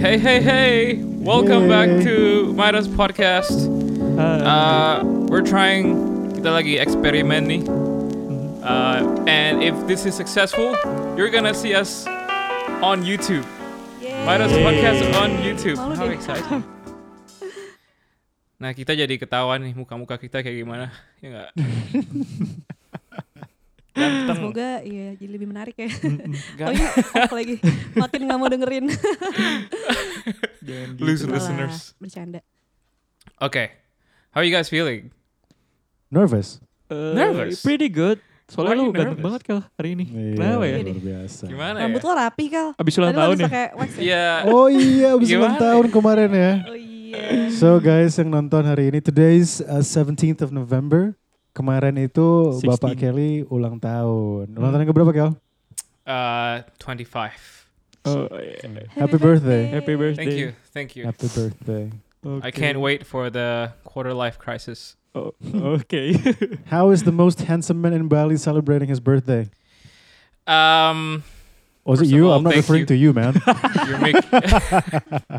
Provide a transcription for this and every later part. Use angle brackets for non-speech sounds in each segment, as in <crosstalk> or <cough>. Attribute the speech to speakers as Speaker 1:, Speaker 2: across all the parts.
Speaker 1: Hey, hey, hey! Welcome back to Midas Podcast. Uh, we're trying kita lagi eksperimen nih. Uh, and if this is successful, you're gonna see us on YouTube. Midas Podcast on YouTube.
Speaker 2: Malu
Speaker 1: How
Speaker 2: deh.
Speaker 1: exciting! <laughs> Nah kita jadi ketahuan nih muka-muka kita kayak gimana, <laughs> ya nggak? Ganteng,
Speaker 2: Semoga iya jadi lebih menarik ya.
Speaker 1: ganteng.
Speaker 2: <laughs> Taunya off lagi makin nggak mau
Speaker 3: <laughs>
Speaker 2: dengerin.
Speaker 3: Jangan
Speaker 1: Lose
Speaker 3: gitu.
Speaker 2: Malah
Speaker 1: listeners.
Speaker 2: Bercanda.
Speaker 1: Okay, how you guys feeling?
Speaker 4: Nervous.
Speaker 3: Eh,
Speaker 1: Nervous.
Speaker 3: pretty good.
Speaker 1: Why
Speaker 3: Soalnya lu
Speaker 1: you nervous?
Speaker 3: ganteng banget kal hari ini.
Speaker 4: Iya,
Speaker 3: Kenapa ya?
Speaker 4: Luar biasa.
Speaker 1: <laughs> Gimana
Speaker 2: Rambut
Speaker 1: ya?
Speaker 2: lo rapi kal.
Speaker 3: Abis ulang
Speaker 2: Tadi lo
Speaker 3: tahun
Speaker 2: habis
Speaker 3: ya.
Speaker 2: pakai wax ya?
Speaker 1: Iya.
Speaker 4: Oh iya, habis
Speaker 1: Gimana
Speaker 4: ulang
Speaker 1: ya?
Speaker 4: tahun kemarin ya.
Speaker 2: Oh iya.
Speaker 4: So guys yang nonton hari ini, today's uh, 17th of November. Kemarin itu
Speaker 3: 16.
Speaker 4: Bapak Kelly ulang tahun.
Speaker 1: Mm.
Speaker 4: Ulang tahun yang keberapa Kel?
Speaker 1: Uh, 25.
Speaker 3: Oh, yeah.
Speaker 4: Happy birthday.
Speaker 3: Happy birthday.
Speaker 1: Thank you, thank you.
Speaker 4: Happy birthday.
Speaker 1: I can't wait for the quarter life crisis.
Speaker 3: Oh,
Speaker 1: <laughs>
Speaker 3: Oke.
Speaker 4: How is the most handsome man in Bali celebrating his birthday? <laughs>
Speaker 1: Um,
Speaker 4: Oh, is
Speaker 1: First of
Speaker 4: it you?
Speaker 1: all,
Speaker 4: I'm not
Speaker 1: thank
Speaker 4: referring
Speaker 1: you.
Speaker 4: to you,
Speaker 1: <laughs>
Speaker 4: man. <laughs>
Speaker 1: you're making.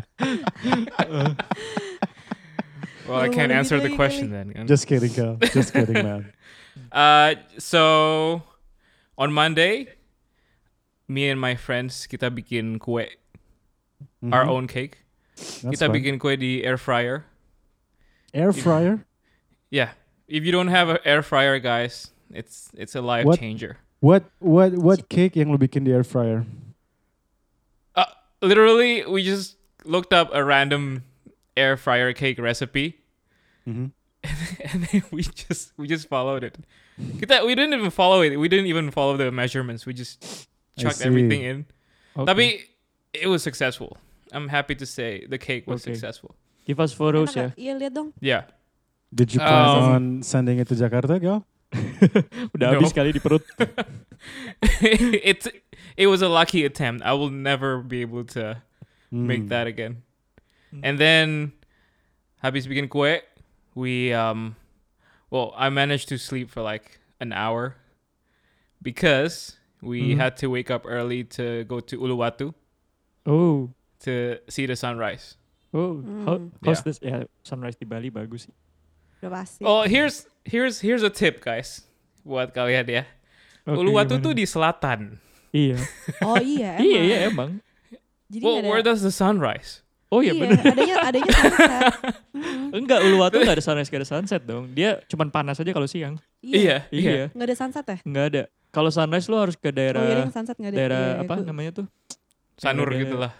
Speaker 3: <laughs>
Speaker 1: well, I
Speaker 2: Oh,
Speaker 1: can't
Speaker 2: what are we
Speaker 1: answer the
Speaker 2: doing,
Speaker 1: question then. Um,
Speaker 4: Just kidding, Kel. Just kidding, man.
Speaker 1: Uh, so on Monday, me and my friends kita bikin kue, our
Speaker 4: Mhm.
Speaker 1: own cake.
Speaker 4: That's
Speaker 1: kita
Speaker 4: fine.
Speaker 1: bikin kue di air fryer.
Speaker 4: air fryer.
Speaker 1: Yeah, if you don't have an air fryer, guys, it's it's a life
Speaker 4: What?
Speaker 1: changer.
Speaker 4: What what what cake yang lu bikin di air fryer?
Speaker 1: Uh, literally, we just looked up a random air fryer cake recipe. Mm-hmm.
Speaker 4: Mhm.
Speaker 1: <laughs> and then we just we just followed it. Kita, we didn't even follow it. We didn't even follow the measurements. We just
Speaker 4: I
Speaker 1: chucked
Speaker 4: see.
Speaker 1: everything in.
Speaker 3: Okay.
Speaker 1: Tapi it was successful. I'm happy to say the cake was
Speaker 3: Okay.
Speaker 1: successful.
Speaker 3: give us
Speaker 2: Enak
Speaker 3: photos
Speaker 2: nggak?
Speaker 3: ya.
Speaker 2: Iya lihat dong.
Speaker 1: Yeah. <laughs>
Speaker 4: Did you plan
Speaker 1: Um,
Speaker 4: on sending it to Jakarta, Kel?
Speaker 3: <laughs> Udah
Speaker 1: No.
Speaker 3: habis kali di perut.
Speaker 1: it's it was a lucky attempt. I will never be able to
Speaker 4: Hmm.
Speaker 1: make that again.
Speaker 3: Mm.
Speaker 1: And then habis bikin kue, we um well, I managed to sleep for like an hour because we
Speaker 3: Mhm.
Speaker 4: Hmm.
Speaker 1: had to wake up early to go to Uluwatu
Speaker 3: Oh.
Speaker 1: to see the sunrise.
Speaker 3: Oh, how,
Speaker 2: Hmm.
Speaker 3: how's this? Ya, sunrise di Bali bagus sih.
Speaker 2: Udah pasti.
Speaker 1: Well, Oh,
Speaker 3: Oh.
Speaker 1: here's here's here's a tip, guys. Buat kalian ya.
Speaker 3: Oke,
Speaker 1: Uluwatu
Speaker 3: gimana?
Speaker 1: tuh di selatan.
Speaker 3: Iya.
Speaker 2: Oh iya. Emang.
Speaker 3: <laughs> iya, iya emang.
Speaker 2: Jadi
Speaker 1: Well,
Speaker 2: nggak
Speaker 1: where
Speaker 2: ada.
Speaker 1: does the sun rise?
Speaker 3: Oh iya
Speaker 2: iya,
Speaker 3: bener. <laughs>
Speaker 2: adanya adanya sunset.
Speaker 3: Enggak, Uluwatu nggak ada sunrise, nggak ada sunset dong. Dia cuman panas aja kalau siang.
Speaker 1: Iya, iya.
Speaker 3: <laughs> Iya,
Speaker 2: Nggak ada sunset ya?
Speaker 3: nggak ada. Kalau sunrise lu harus
Speaker 2: Oh
Speaker 3: ke
Speaker 2: iya,
Speaker 3: daerah
Speaker 2: yang sunset nggak ada.
Speaker 3: daerah
Speaker 2: Iya, iya,
Speaker 3: apa
Speaker 2: gua-
Speaker 3: namanya tuh?
Speaker 1: Sanur
Speaker 3: Daerah-
Speaker 1: gitu lah.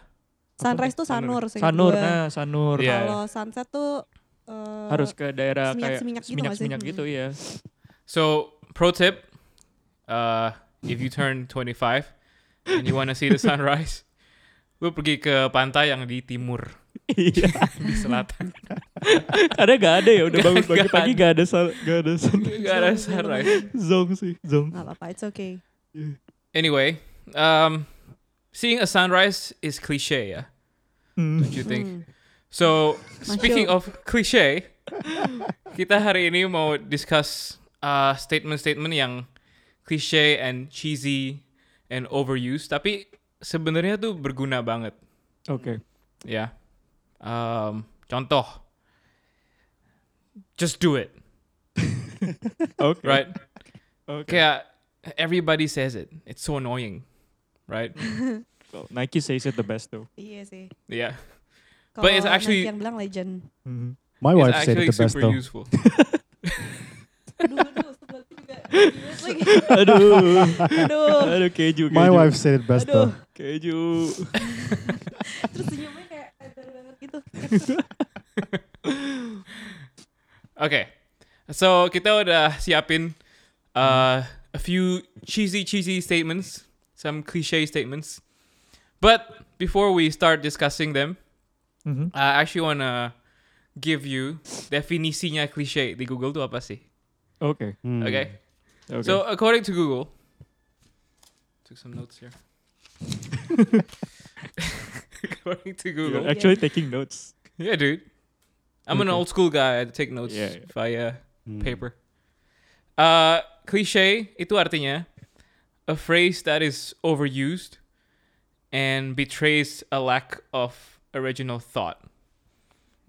Speaker 2: Sunrise tuh
Speaker 1: Sanur.
Speaker 2: sanur. seingat
Speaker 3: Sanur,
Speaker 2: gua.
Speaker 3: nah Sanur.
Speaker 1: Iya.
Speaker 2: Kalau sunset tuh eh,
Speaker 3: Harus ke daerah
Speaker 2: seminyak-seminyak
Speaker 3: kayak
Speaker 2: gitu nggak sih?
Speaker 3: seminyak-seminyak gitu,
Speaker 2: Hmm.
Speaker 3: ya.
Speaker 1: So, pro tip, uh, if you turn 25 and you want to see the sunrise, <laughs> lu pergi ke pantai yang di timur, <laughs>
Speaker 3: Iya.
Speaker 1: di selatan.
Speaker 3: <laughs> Ada gak ada ya udah
Speaker 1: Nggak-
Speaker 3: bangun
Speaker 1: nggak
Speaker 3: pagi-pagi gak ada sal- gak ada sun-
Speaker 1: Gak ada
Speaker 2: Iya.
Speaker 1: sunrise.
Speaker 3: zong sih zong.
Speaker 2: Nggak apa-apa, it's okay.
Speaker 1: Anyway, um, seeing a sunrise is cliche, yeah?
Speaker 3: Hmm.
Speaker 1: Don't you think?
Speaker 2: Hmm.
Speaker 1: So,
Speaker 2: Masuk.
Speaker 1: speaking of cliche, kita hari ini mau discuss uh, statement-statement yang cliche and cheesy and overused, tapi sebenarnya tuh berguna banget.
Speaker 3: Oke.
Speaker 1: Yeah. Um, contoh. Just do it,
Speaker 3: Oke.
Speaker 1: right?
Speaker 3: Oke.
Speaker 1: Kayak everybody says it. It's so annoying, right?
Speaker 3: Well, Nike says it the best though.
Speaker 2: Iya sih.
Speaker 1: Yeah.
Speaker 2: Kalau
Speaker 1: it's actually-
Speaker 2: Nike yang bilang legend.
Speaker 3: Hmm.
Speaker 4: My
Speaker 1: it's
Speaker 4: wife said
Speaker 1: actually
Speaker 4: it the best
Speaker 1: super
Speaker 4: though.
Speaker 1: useful.
Speaker 2: Aduh, aduh, sebelah aku <laughs> juga. Lagi.
Speaker 3: Aduh.
Speaker 2: Aduh.
Speaker 3: Aduh keju. keju.
Speaker 4: My wife said it best
Speaker 2: Aduh.
Speaker 4: though.
Speaker 3: Keju.
Speaker 2: Terus senyumnya kayak edan banget gitu.
Speaker 1: Okay. So kita udah siapin uh, a few cheesy cheesy statements, some cliche statements. But before we start discussing them,
Speaker 3: Mhm.
Speaker 1: I actually wanna give you definisinya cliche di Google tuh apa sih?
Speaker 3: Oke.
Speaker 4: Hmm.
Speaker 1: Okay.
Speaker 3: Oke.
Speaker 1: So according to Google, took some notes here. according to
Speaker 3: You're
Speaker 1: Google,
Speaker 3: actually taking notes.
Speaker 1: yeah, dude, I'm an
Speaker 3: Okay.
Speaker 1: old school guy. I take notes
Speaker 3: Yeah, yeah.
Speaker 1: via
Speaker 4: Hmm.
Speaker 1: paper. Uh, cliche itu artinya a phrase that is overused and betrays a lack of original thought.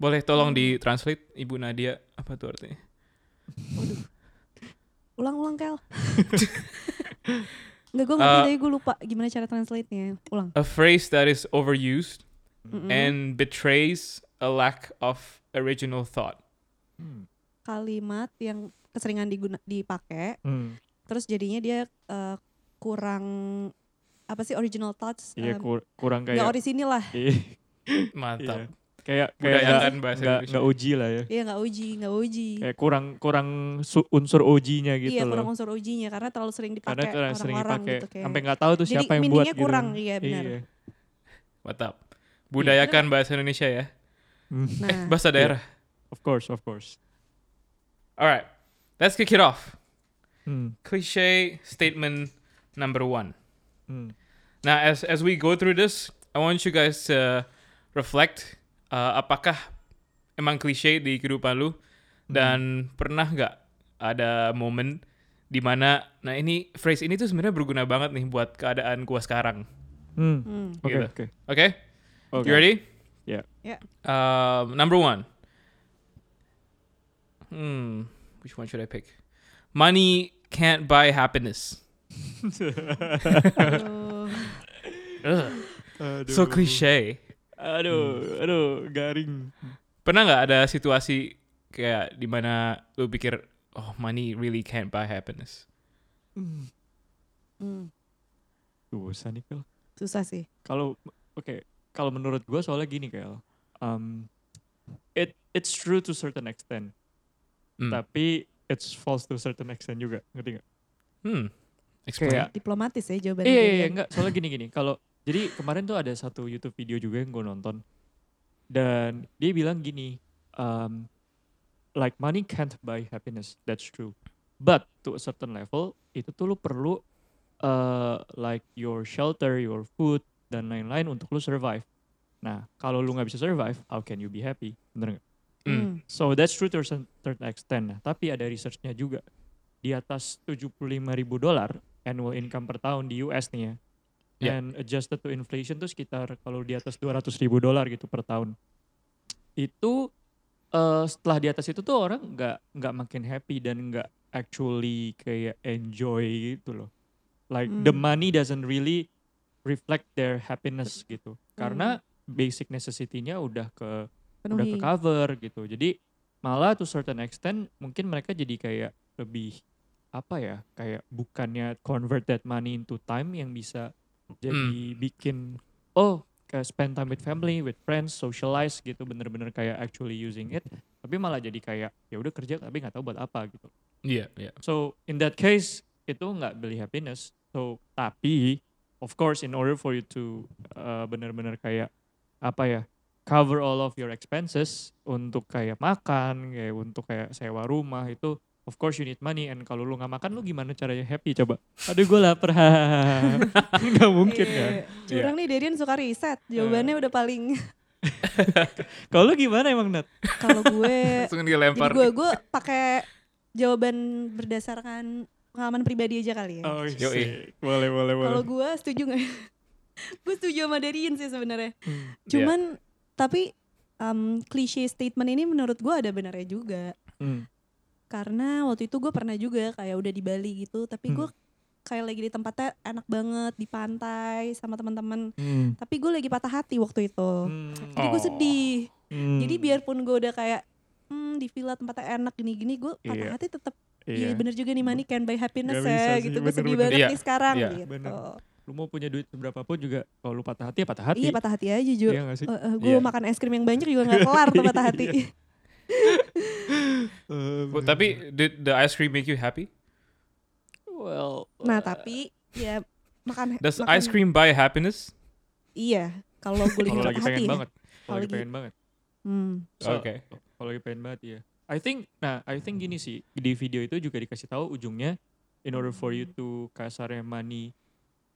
Speaker 1: Boleh tolong ditranslate Ibu Nadia apa tuh artinya?
Speaker 2: Ulang-ulang,
Speaker 3: <laughs>
Speaker 2: Kel. Enggak, gue ngerti
Speaker 3: Uh,
Speaker 1: Eh.
Speaker 2: tapi gue lupa gimana cara translate-nya. Ulang.
Speaker 1: A phrase that is overused
Speaker 2: Mm-mm.
Speaker 1: and betrays a lack of original thought.
Speaker 2: Kalimat yang keseringan diguna, dipakai,
Speaker 3: Hmm.
Speaker 2: terus jadinya dia eh, kurang, apa sih, original touch. em,
Speaker 3: Iya kur- kurang
Speaker 2: Um, nggak
Speaker 3: kayak
Speaker 2: orisinil lah.
Speaker 3: Iya.
Speaker 1: Mantap.
Speaker 3: kayak kayak
Speaker 1: Budayakan
Speaker 3: nggak-
Speaker 1: bahasa
Speaker 3: nggak
Speaker 1: Indonesia.
Speaker 3: nggak uji lah ya.
Speaker 2: Iya, nggak uji, nggak uji.
Speaker 3: Kayak kurang kurang su- unsur ujinya gitu
Speaker 2: iya, kurang
Speaker 3: loh.
Speaker 2: unsur ujinya karena terlalu sering
Speaker 3: Karena
Speaker 2: dipakai
Speaker 3: itu yang sering
Speaker 2: orang-orang
Speaker 3: dipakai
Speaker 2: gitu kayak.
Speaker 3: sampai nggak tahu tuh
Speaker 2: Jadi
Speaker 3: siapa yang buat
Speaker 2: meaningnya
Speaker 3: gitu.
Speaker 2: kurang, iya, benar.
Speaker 1: Mantap. Budayakan bahasa Indonesia ya.
Speaker 3: Hmm.
Speaker 1: Eh,
Speaker 2: Nah,
Speaker 1: bahasa daerah.
Speaker 3: Of course, of course.
Speaker 1: Alright. Let's kick it off.
Speaker 3: Hmm.
Speaker 1: Cliche statement number one.
Speaker 3: Hmm.
Speaker 1: Now, as as we go through this, I want you guys to reflect. uh, apakah emang klise di kehidupan lu?
Speaker 3: Hmm.
Speaker 1: Dan pernah nggak ada momen di mana, nah ini phrase ini tuh sebenarnya berguna banget nih buat keadaan gua sekarang.
Speaker 3: Hmm. <laughs>
Speaker 2: hmm.
Speaker 3: Oke,
Speaker 1: Gitu.
Speaker 3: oke.
Speaker 1: Oke,
Speaker 3: Oke. Ya.
Speaker 1: you ready?
Speaker 3: Yeah.
Speaker 2: Yeah.
Speaker 1: Um, number one. Hmm, which one should I pick? Money can't buy happiness.
Speaker 2: Aduh.
Speaker 1: Ugh,
Speaker 3: <laughs> Aduh.
Speaker 1: so cliche.
Speaker 3: Aduh, aduh, garing.
Speaker 1: Pernah nggak ada situasi kayak di mana lu pikir, oh money really can't buy happiness?
Speaker 2: Hmm,
Speaker 3: Susah nih, Kel.
Speaker 2: susah sih.
Speaker 3: Kalau oke, kalau menurut gua soalnya gini, Kel. Um, it it's true to certain extent,
Speaker 1: Hmm.
Speaker 3: tapi it's false to certain extent juga, ngerti nggak?
Speaker 1: Hmm. Explain.
Speaker 3: Kayak-
Speaker 2: Diplomatis ya jawabannya.
Speaker 3: Iya, iya,
Speaker 2: Julian.
Speaker 3: iya, enggak. Soalnya gini-gini, kalau jadi kemarin tuh ada satu YouTube video juga yang gue nonton. Dan dia bilang gini, um, like money can't buy happiness, that's true. But to a certain level, itu tuh lu perlu uh, like your shelter, your food, dan lain-lain untuk lu survive. Nah, kalau lu nggak bisa survive, how can you be happy? Bener nggak?
Speaker 1: Hmm.
Speaker 2: Hmm.
Speaker 3: So that's true to a certain extent. Nah, tapi ada researchnya juga. Di atas 75.000 ribu dolar annual income per tahun di US nih ya.
Speaker 1: Ya.
Speaker 3: Dan adjusted to inflation tuh sekitar kalau di atas 200 ribu dolar gitu per tahun. Itu eh, setelah di atas itu tuh orang nggak nggak makin happy dan nggak actually kayak enjoy gitu loh. Like the
Speaker 2: Hmm.
Speaker 3: money doesn't really reflect their happiness gitu. Karena basic necessity-nya udah ke udah
Speaker 2: Penuhi.
Speaker 3: ke cover gitu. Jadi malah to certain extent mungkin mereka jadi kayak lebih apa ya kayak bukannya convert that money into time yang bisa jadi bikin oh kayak spend time with family, with friends, socialize gitu bener-bener kayak actually using it. Tapi malah jadi kayak ya udah kerja tapi nggak tahu buat apa gitu.
Speaker 1: Iya, iya.
Speaker 3: So in that case itu nggak beli happiness. So tapi of course in order for you to uh, benar-benar kayak apa ya cover all of your expenses untuk kayak makan, kayak untuk kayak sewa rumah itu of course you need money and kalau lu nggak makan lu gimana caranya happy coba? Aduh gue lapar. <laughs> nggak mungkin
Speaker 2: Iya,
Speaker 3: kan. Eh.
Speaker 2: iya. Curang nih Darian suka riset. Jawabannya udah paling <laughs>
Speaker 3: Kalau lu gimana emang Nat?
Speaker 2: Iya. kalau
Speaker 3: <laughs>
Speaker 2: gue
Speaker 1: Langsung
Speaker 2: jadi
Speaker 1: dilempar.
Speaker 2: gue gue pakai jawaban berdasarkan pengalaman pribadi aja kali ya.
Speaker 3: Oh,
Speaker 1: Yoi.
Speaker 3: sick. Boleh boleh boleh.
Speaker 2: Kalau gue setuju nggak? <laughs> gue setuju sama Darian sih sebenarnya.
Speaker 3: Hmm.
Speaker 2: Cuman tapi um, cliche statement ini menurut gue ada benarnya juga.
Speaker 3: Hmm.
Speaker 2: Karena waktu itu gue pernah juga kayak udah di Bali gitu, tapi
Speaker 3: Hmm.
Speaker 2: gue kayak lagi di tempatnya enak banget di pantai sama teman-teman.
Speaker 3: Hmm.
Speaker 2: Tapi gue lagi patah hati waktu itu.
Speaker 3: Hmm.
Speaker 2: Jadi gue
Speaker 1: Oh.
Speaker 2: sedih.
Speaker 3: Hmm.
Speaker 2: Jadi biarpun gue udah kayak hmm, di villa tempatnya enak gini-gini, gue patah
Speaker 3: Iya.
Speaker 2: hati tetap iya
Speaker 3: Iya.
Speaker 2: bener juga nih money can buy happiness
Speaker 3: Nggak bisa
Speaker 2: ya
Speaker 3: sih,
Speaker 2: gitu. Gue sedih
Speaker 3: bener-bener.
Speaker 2: banget
Speaker 1: Iya,
Speaker 2: nih sekarang
Speaker 1: iya.
Speaker 2: gitu.
Speaker 3: Bener. lu mau punya duit seberapa pun juga kalau lu patah hati ya patah hati.
Speaker 2: Iya patah hati aja Ju.
Speaker 3: Iya nggak sih?
Speaker 2: gue
Speaker 1: Iya.
Speaker 2: makan es krim yang banyak juga gak kelar tuh patah
Speaker 3: <laughs>
Speaker 2: hati.
Speaker 1: Well, tapi did the ice cream make you happy?
Speaker 3: well,
Speaker 2: nah tapi ya makan
Speaker 1: Does
Speaker 2: makan-
Speaker 1: ice cream buy happiness?
Speaker 2: Iya kalau gue lagi patah
Speaker 3: kalau lagi pengen
Speaker 2: hati. ya.
Speaker 3: banget, kalau lagi
Speaker 2: lagi-
Speaker 3: pengen banget,
Speaker 2: Hmm.
Speaker 3: So-
Speaker 1: Oke.
Speaker 3: kalau lagi pengen banget ya. I think, nah, I think gini sih di video itu juga dikasih tahu ujungnya in order for you to kasarnya money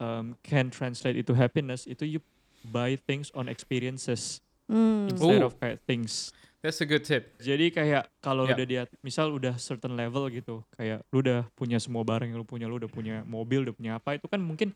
Speaker 3: um, can translate into happiness itu you buy things on experiences
Speaker 2: Hmm.
Speaker 3: instead
Speaker 1: Oh.
Speaker 3: of kayak things.
Speaker 1: That's a good tip.
Speaker 3: Jadi kayak kalau
Speaker 1: Ya.
Speaker 3: udah dia misal udah certain level gitu, kayak lu udah punya semua barang yang lu punya, lu udah punya mobil, udah punya apa, itu kan mungkin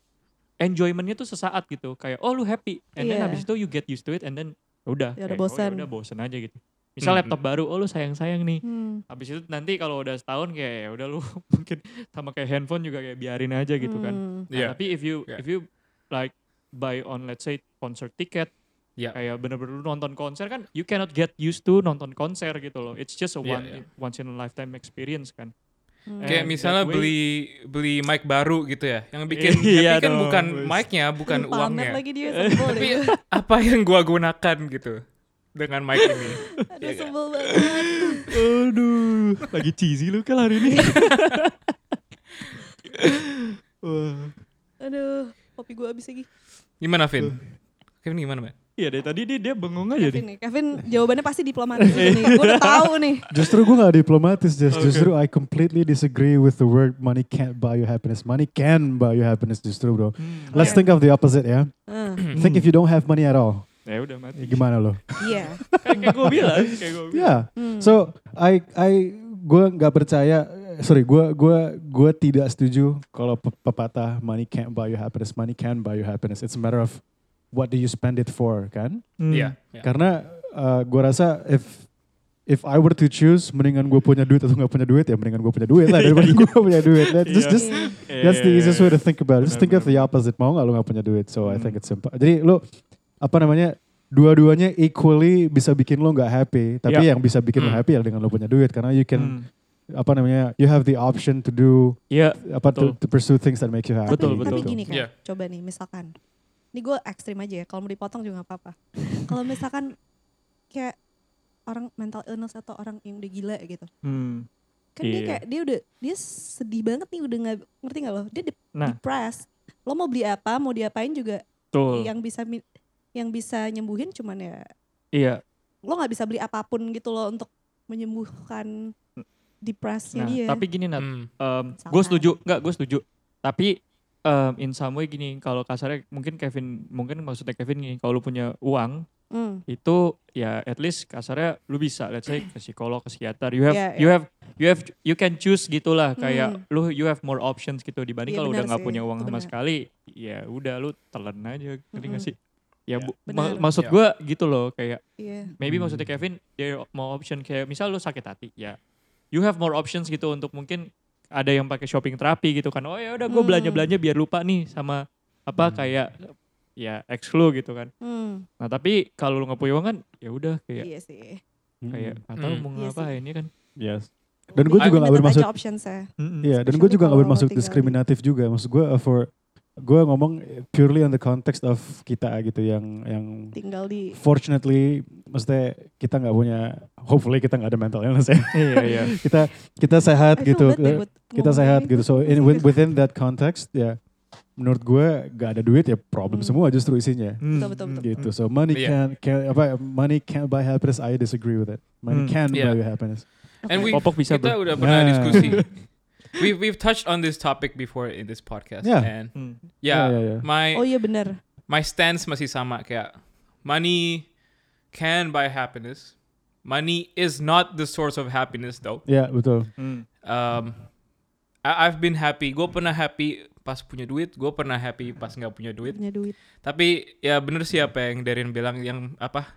Speaker 3: enjoymentnya tuh sesaat gitu, kayak oh lu happy, and then
Speaker 2: Iya.
Speaker 3: habis itu you get used to it, and then udah
Speaker 2: Ya udah
Speaker 3: kayak,
Speaker 2: bosen.
Speaker 3: oh, ya udah bosen aja gitu misal
Speaker 1: Hmm.
Speaker 3: laptop baru oh lu sayang sayang nih
Speaker 2: Hmm.
Speaker 3: habis itu nanti kalau udah setahun kayak ya udah lu <laughs> mungkin sama kayak handphone juga kayak biarin aja gitu kan
Speaker 2: Hmm.
Speaker 3: Nah,
Speaker 1: Yeah.
Speaker 3: tapi if you
Speaker 1: Yeah.
Speaker 3: if you like buy on let's say concert ticket
Speaker 1: Yeah.
Speaker 3: kayak bener-bener lu nonton konser kan you cannot get used to nonton konser gitu loh it's just a
Speaker 1: Yeah,
Speaker 3: one once in a lifetime experience kan
Speaker 2: Hmm.
Speaker 1: Kayak
Speaker 3: And
Speaker 1: misalnya
Speaker 3: that way-
Speaker 1: beli beli mic baru gitu ya, yang <laughs> bikin happy
Speaker 3: Iya
Speaker 1: kan
Speaker 3: dong,
Speaker 1: bukan
Speaker 3: please.
Speaker 1: mic-nya, bukan
Speaker 2: Pamer
Speaker 1: uangnya.
Speaker 2: lagi dia sebel
Speaker 1: Tapi ya.
Speaker 2: deh.
Speaker 1: apa yang gua gunakan gitu dengan mic ini?
Speaker 2: Aduh sebel banget.
Speaker 3: aduh lagi cheesy lu kan hari ini Wah.
Speaker 2: Aduh, kopi gue habis lagi.
Speaker 1: Gimana <laughs> Vin? Kevin gimana man?
Speaker 3: Iya dari tadi dia dia bengong
Speaker 2: Kevin
Speaker 3: aja nih.
Speaker 2: nih, Kevin jawabannya pasti diplomatis nih. Gue udah tahu nih.
Speaker 4: Justru gue gak diplomatis, Jess. Justru I completely disagree with the word money can't buy you happiness. Money can buy you happiness justru
Speaker 2: ya?
Speaker 4: bro.
Speaker 3: Hmm.
Speaker 4: Let's
Speaker 3: Iya.
Speaker 2: Oke.
Speaker 4: think of the opposite ya.
Speaker 1: Hmm.
Speaker 2: Ah,
Speaker 4: Think if you don't have money at all,
Speaker 3: Ya udah
Speaker 4: ya <laughs>
Speaker 3: mati.
Speaker 4: gimana lo?
Speaker 2: Iya. Hmm.
Speaker 3: Kayak- kayak gue bilang, kayak gue bilang.
Speaker 4: Ya. So I I gue nggak percaya. Sorry, gue gua gua tidak setuju kalau pe- pepatah money can't buy you happiness. Money can buy you happiness. It's a matter of what do you spend it for, kan?
Speaker 3: Hmm.
Speaker 1: Iya. iya.
Speaker 4: Karena uh, gue rasa if if I were to choose, mendingan gue punya duit atau nggak punya duit ya mendingan gue punya duit
Speaker 3: <laughs>
Speaker 4: lah daripada gue punya duit. That- Just
Speaker 3: Iya.
Speaker 4: just
Speaker 2: Iya.
Speaker 4: That's the easiest way to think about it. Just think
Speaker 3: Benar,
Speaker 4: of the opposite. Mau nggak lu nggak punya duit? So I
Speaker 3: Hmm.
Speaker 4: think it's simple. Jadi lu apa namanya? Dua-duanya equally bisa bikin lo nggak happy. Tapi
Speaker 3: Ya.
Speaker 4: yang bisa bikin lo
Speaker 1: Hmm.
Speaker 4: happy ya dengan lo punya duit karena you can
Speaker 3: Hmm.
Speaker 4: apa namanya? You have the option to do
Speaker 3: Iya.
Speaker 4: apa to,
Speaker 3: Betul.
Speaker 4: to pursue things that make you happy. Gitu.
Speaker 3: Betul,
Speaker 2: tapi,
Speaker 3: betul.
Speaker 2: Tapi gini kan,
Speaker 1: Iya.
Speaker 2: coba nih misalkan. Ini gue ekstrim aja ya, kalau mau dipotong juga gak apa-apa. kalau misalkan kayak orang mental illness atau orang yang udah gila gitu.
Speaker 3: Hmm.
Speaker 2: Kan dia
Speaker 3: Iya.
Speaker 2: kayak, dia udah, dia sedih banget nih udah gak, ngerti gak loh? Dia de-
Speaker 3: Nah.
Speaker 2: depressed. Lo mau beli apa, mau diapain juga
Speaker 3: Betul.
Speaker 2: yang bisa mi- yang bisa nyembuhin cuman ya
Speaker 3: Iya.
Speaker 2: lo nggak bisa beli apapun gitu loh untuk menyembuhkan depresinya
Speaker 3: Nah,
Speaker 2: dia.
Speaker 3: tapi gini Nat,
Speaker 1: Hmm.
Speaker 3: gue
Speaker 2: Salah.
Speaker 3: setuju, nggak gue setuju. Tapi em, in some way gini, kalau kasarnya mungkin Kevin, mungkin maksudnya Kevin gini, kalau lu punya uang
Speaker 2: Hmm,
Speaker 3: itu ya at least kasarnya lu bisa, let's say ke psikolog, ke psikiater, you have,
Speaker 2: Yeah,
Speaker 3: you have, you have, you can choose gitulah
Speaker 2: Hmm.
Speaker 3: kayak lu you have more options gitu dibanding
Speaker 2: Iya,
Speaker 3: kalau udah
Speaker 2: benar
Speaker 3: nggak
Speaker 2: sih,
Speaker 3: punya uang
Speaker 2: itu
Speaker 3: sama
Speaker 2: benar.
Speaker 3: sekali, ya udah lu telan aja, ngerti
Speaker 2: Mm-mm.
Speaker 3: nggak sih? Ya, bu-
Speaker 2: Benar.
Speaker 3: ma- maksud
Speaker 1: Ya.
Speaker 3: gue gitu loh kayak
Speaker 2: iya.
Speaker 3: maybe
Speaker 4: Hmm.
Speaker 3: maksudnya Kevin dia mau option kayak misal lu sakit hati ya you have more options gitu untuk mungkin ada yang pakai shopping terapi gitu kan oh ya udah gue
Speaker 2: Hmm.
Speaker 3: belanja belanja biar lupa nih sama apa
Speaker 4: Hmm.
Speaker 3: kayak ya ex lu gitu kan
Speaker 2: Hmm,
Speaker 3: nah tapi kalau lu nggak punya uang kan ya udah kayak
Speaker 2: iya sih.
Speaker 3: kayak nggak tahu
Speaker 1: Hmm.
Speaker 3: mau
Speaker 2: Iya
Speaker 3: ngapain ya kan
Speaker 4: Yes. Dan gue juga nggak
Speaker 2: Limited
Speaker 4: bermaksud.
Speaker 2: aja options-nya.
Speaker 3: Mm-mm.
Speaker 4: Iya. Dan gue
Speaker 2: Hmm, Especially
Speaker 4: juga nggak
Speaker 2: kalau
Speaker 4: bermaksud
Speaker 2: tinggal di-
Speaker 4: diskriminatif juga. Maksud gue uh, for gue ngomong purely on the context of kita gitu yang yang
Speaker 2: Tinggal di
Speaker 4: fortunately maksudnya kita nggak punya hopefully kita nggak ada mental illness ya
Speaker 3: iya iya
Speaker 4: <laughs> kita kita sehat
Speaker 2: I feel
Speaker 4: gitu
Speaker 2: bad deh buat
Speaker 4: kita
Speaker 2: ngomong
Speaker 4: sehat
Speaker 2: ini.
Speaker 4: gitu so in with- within that context ya menurut gue nggak ada duit ya problem
Speaker 2: Hmm.
Speaker 4: semua justru isinya
Speaker 2: Betul, betul, betul.
Speaker 4: gitu so money
Speaker 1: Iya.
Speaker 4: can, can apa money can buy happiness I disagree with it money
Speaker 3: Hmm.
Speaker 4: can
Speaker 1: Iya.
Speaker 4: buy you happiness
Speaker 1: And we
Speaker 3: Popok bisa,
Speaker 1: kita
Speaker 3: bro.
Speaker 1: udah pernah
Speaker 4: Nah. <laughs>
Speaker 1: diskusi. we've we've touched on this topic before in this podcast.
Speaker 4: Yeah.
Speaker 1: And
Speaker 3: Hmm.
Speaker 1: yeah,
Speaker 4: yeah, yeah.
Speaker 1: my
Speaker 2: Oh iya benar.
Speaker 1: my stance masih sama kayak money can buy happiness. Money is not the source of happiness though.
Speaker 4: ya betul
Speaker 3: Hmm.
Speaker 1: Um, I, I've been happy. Gue pernah happy pas punya duit. Gue pernah happy pas nggak punya duit.
Speaker 2: Punya duit.
Speaker 1: Tapi ya bener sih apa yang Darren bilang yang apa?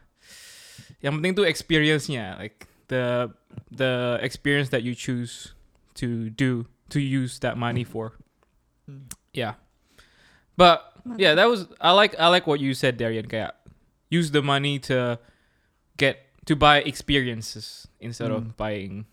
Speaker 1: Yang penting tuh experience-nya, like the the experience that you choose to do to use that money for.
Speaker 3: Hmm.
Speaker 1: Yeah. But yeah, Iya,
Speaker 2: Mantap.
Speaker 1: that was I like I like what you said Darren kayak use the money to get to buy experiences instead of buying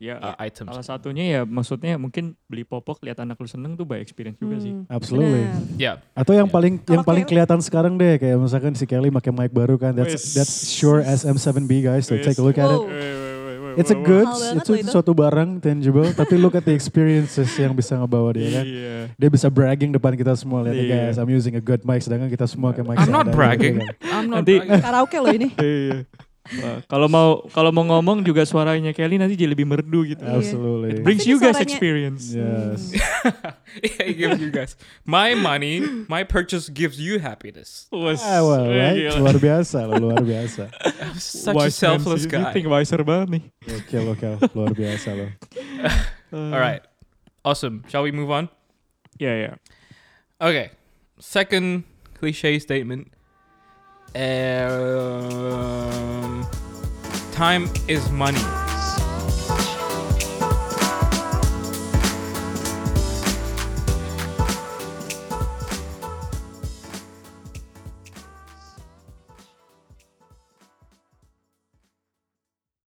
Speaker 3: ya
Speaker 4: Ah,
Speaker 1: uh, items.
Speaker 3: salah satunya ya maksudnya mungkin beli popok lihat anak lu seneng tuh by experience juga sih
Speaker 2: Hmm,
Speaker 4: absolutely
Speaker 2: benar.
Speaker 1: Yeah.
Speaker 4: atau
Speaker 3: Iya.
Speaker 4: yang paling
Speaker 2: Kalau
Speaker 4: yang paling
Speaker 2: Kelly-
Speaker 4: kelihatan sekarang deh kayak misalkan si Kelly pakai mic baru kan that's
Speaker 3: Wes.
Speaker 4: that's sure SM7B guys so take a look at it
Speaker 2: Wow.
Speaker 4: It's a good,
Speaker 2: Mahal banget
Speaker 4: it's
Speaker 2: loh itu.
Speaker 4: suatu barang tangible, tapi look at the experiences yang bisa ngebawa dia kan.
Speaker 3: iya
Speaker 4: Dia bisa bragging depan kita semua, lihat nih,
Speaker 3: Iya.
Speaker 4: guys, I'm using a good mic, sedangkan kita semua ke mic.
Speaker 1: I'm not
Speaker 4: seadanya,
Speaker 1: bragging.
Speaker 4: gitu kan.
Speaker 1: I'm not <laughs>
Speaker 3: Nanti-
Speaker 1: bragging.
Speaker 2: Karaoke loh
Speaker 4: <laughs>
Speaker 2: ini.
Speaker 3: Iya. Wah, Kalau mau kalau mau ngomong juga suaranya Kelly nanti jadi lebih merdu gitu.
Speaker 2: Iya.
Speaker 4: Absolutely.
Speaker 3: It brings
Speaker 2: Tapi
Speaker 3: you guys
Speaker 2: suaranya-
Speaker 3: experience.
Speaker 4: Yes.
Speaker 1: yeah, it gives you guys. My money, my purchase gives you happiness.
Speaker 3: Wes,
Speaker 4: Ah, well,
Speaker 3: eh,
Speaker 4: right?
Speaker 3: gila.
Speaker 4: Luar biasa, loh, luar biasa.
Speaker 1: I'm <laughs> such
Speaker 3: Wise
Speaker 1: a
Speaker 3: man
Speaker 1: selfless
Speaker 3: sih,
Speaker 1: guy.
Speaker 3: You think wiser banget nih.
Speaker 4: Oke, oke, luar biasa loh.
Speaker 3: uh,
Speaker 1: All right. Awesome. Shall we move on?
Speaker 3: Ya ya.
Speaker 1: Okay. Second cliche statement. Uh, time is money.